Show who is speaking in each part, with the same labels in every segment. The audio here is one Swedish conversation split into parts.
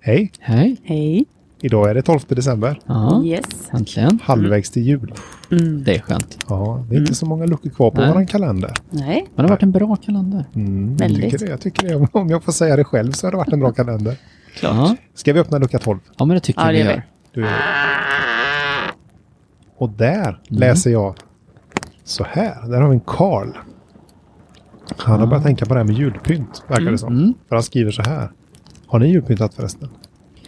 Speaker 1: Hej!
Speaker 2: Hej.
Speaker 3: Hej.
Speaker 1: Idag är det 12 december,
Speaker 2: Ja,
Speaker 3: Yes.
Speaker 2: äntligen.
Speaker 1: halvvägs till jul.
Speaker 3: Mm.
Speaker 2: Det är skönt.
Speaker 1: Ja, det är inte så många luckor kvar på
Speaker 2: Nej.
Speaker 1: våran kalender.
Speaker 3: Nej.
Speaker 2: Men det har varit en bra kalender.
Speaker 1: Mm, jag
Speaker 3: Väldigt.
Speaker 1: tycker det, jag tycker det. Om jag får säga det själv så har det varit en bra kalender.
Speaker 2: Klart. Ja,
Speaker 1: Ska vi öppna lucka 12?
Speaker 2: ja men det tycker
Speaker 3: Ja,
Speaker 2: jag vi
Speaker 3: det gör
Speaker 2: gör.
Speaker 1: Du är- Och där läser jag så här. Där har vi en Karl. Han har börjat tänka på det här med julpynt, verkar det som. För han skriver så här. Har ni julpyntat förresten?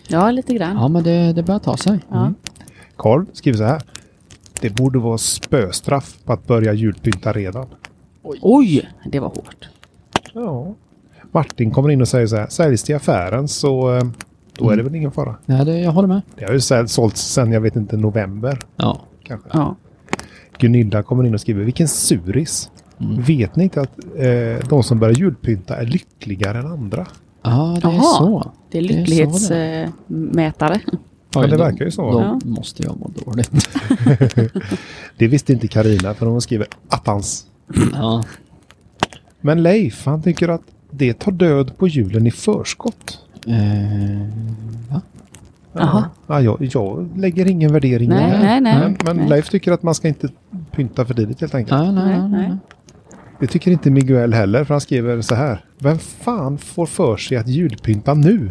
Speaker 3: Ja, lite grann.
Speaker 2: Ja, men det, det börjar ta sig. Mm.
Speaker 3: Ja.
Speaker 1: Karl skriver så här. Det borde vara spöstraff på att börja julpynta redan.
Speaker 3: Oj, det var hårt.
Speaker 1: Ja. Martin kommer in och säger så här. Säljs till affären så eh, då
Speaker 3: Mm.
Speaker 1: är det väl ingen fara.
Speaker 2: Nej, det, jag håller med.
Speaker 1: Det har ju säl- sålts sedan jag vet inte november
Speaker 2: Ja.
Speaker 1: kanske.
Speaker 3: Ja.
Speaker 1: Gunilla kommer in och skriver vilken suris.
Speaker 3: Mm.
Speaker 1: Vet ni inte att eh, de som börjar julpynta är lyckligare än andra?
Speaker 2: Ja, det är
Speaker 3: Jaha.
Speaker 2: så.
Speaker 3: Det är
Speaker 2: så det är.
Speaker 3: lycklighetsmätare.
Speaker 1: Ja, det
Speaker 2: de-
Speaker 1: verkar ju så.
Speaker 2: De
Speaker 3: Ja.
Speaker 2: måste jag må dåligt.
Speaker 1: Det visste inte Karina för hon skriver attans.
Speaker 2: Ja.
Speaker 1: Men Leif han tycker att det tar död på julen i förskott.
Speaker 2: Eh,
Speaker 3: Jaha.
Speaker 1: Ja, jag, jag lägger ingen värdering i
Speaker 3: Nej,
Speaker 1: det.
Speaker 3: nej, nej.
Speaker 1: Men, men
Speaker 3: Nej.
Speaker 1: Leif tycker att man ska inte pynta för tidigt helt enkelt.
Speaker 2: nej, nej, nej,
Speaker 3: Nej, nej.
Speaker 2: nej.
Speaker 1: Det tycker inte Miguel heller för han skriver så här. Vem fan får för sig att julpynta nu?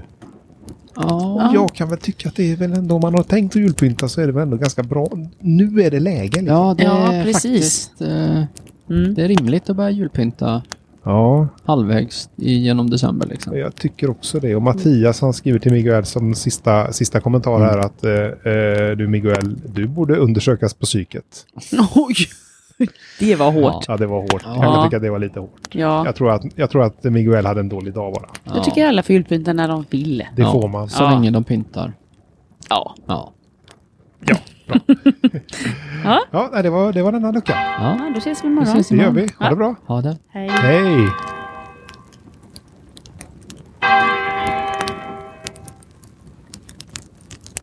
Speaker 2: Ja.
Speaker 1: Jag kan väl tycka att det är väl ändå om man har tänkt att julpynta så är det väl ändå ganska bra. Nu är det läge. Liksom.
Speaker 2: ja, det
Speaker 3: Ja,
Speaker 2: är
Speaker 3: precis.
Speaker 2: faktiskt eh,
Speaker 3: Mm.
Speaker 2: det är rimligt att börja julpynta
Speaker 1: Ja,
Speaker 2: halvvägs i- genom december. Liksom.
Speaker 1: jag tycker också det. Och Mattias han skriver till Miguel som sista, sista kommentar här att eh, eh, du Miguel, du borde undersökas på psyket.
Speaker 3: Oj, det var hårt.
Speaker 1: Ja, det var hårt.
Speaker 2: Ja.
Speaker 1: Jag kan tycka att det var lite hårt.
Speaker 3: Ja.
Speaker 1: Jag tror, att, jag tror att Miguel hade en dålig dag bara.
Speaker 2: Ja.
Speaker 3: Jag tycker alla får julpynta när de vill.
Speaker 1: Det
Speaker 2: Ja.
Speaker 1: får man.
Speaker 2: Så
Speaker 3: Ja.
Speaker 2: länge de pyntar.
Speaker 3: Ja.
Speaker 2: Ja.
Speaker 1: Ja, nej, det var, det var den här luckan.
Speaker 2: ja.
Speaker 3: ja då ses
Speaker 2: Vi
Speaker 3: vi imorgon.
Speaker 2: ses
Speaker 1: Det gör
Speaker 3: Mm.
Speaker 2: imorgon.
Speaker 1: vi. Ha det bra.
Speaker 2: Ha det.
Speaker 3: Hej.
Speaker 1: Hej!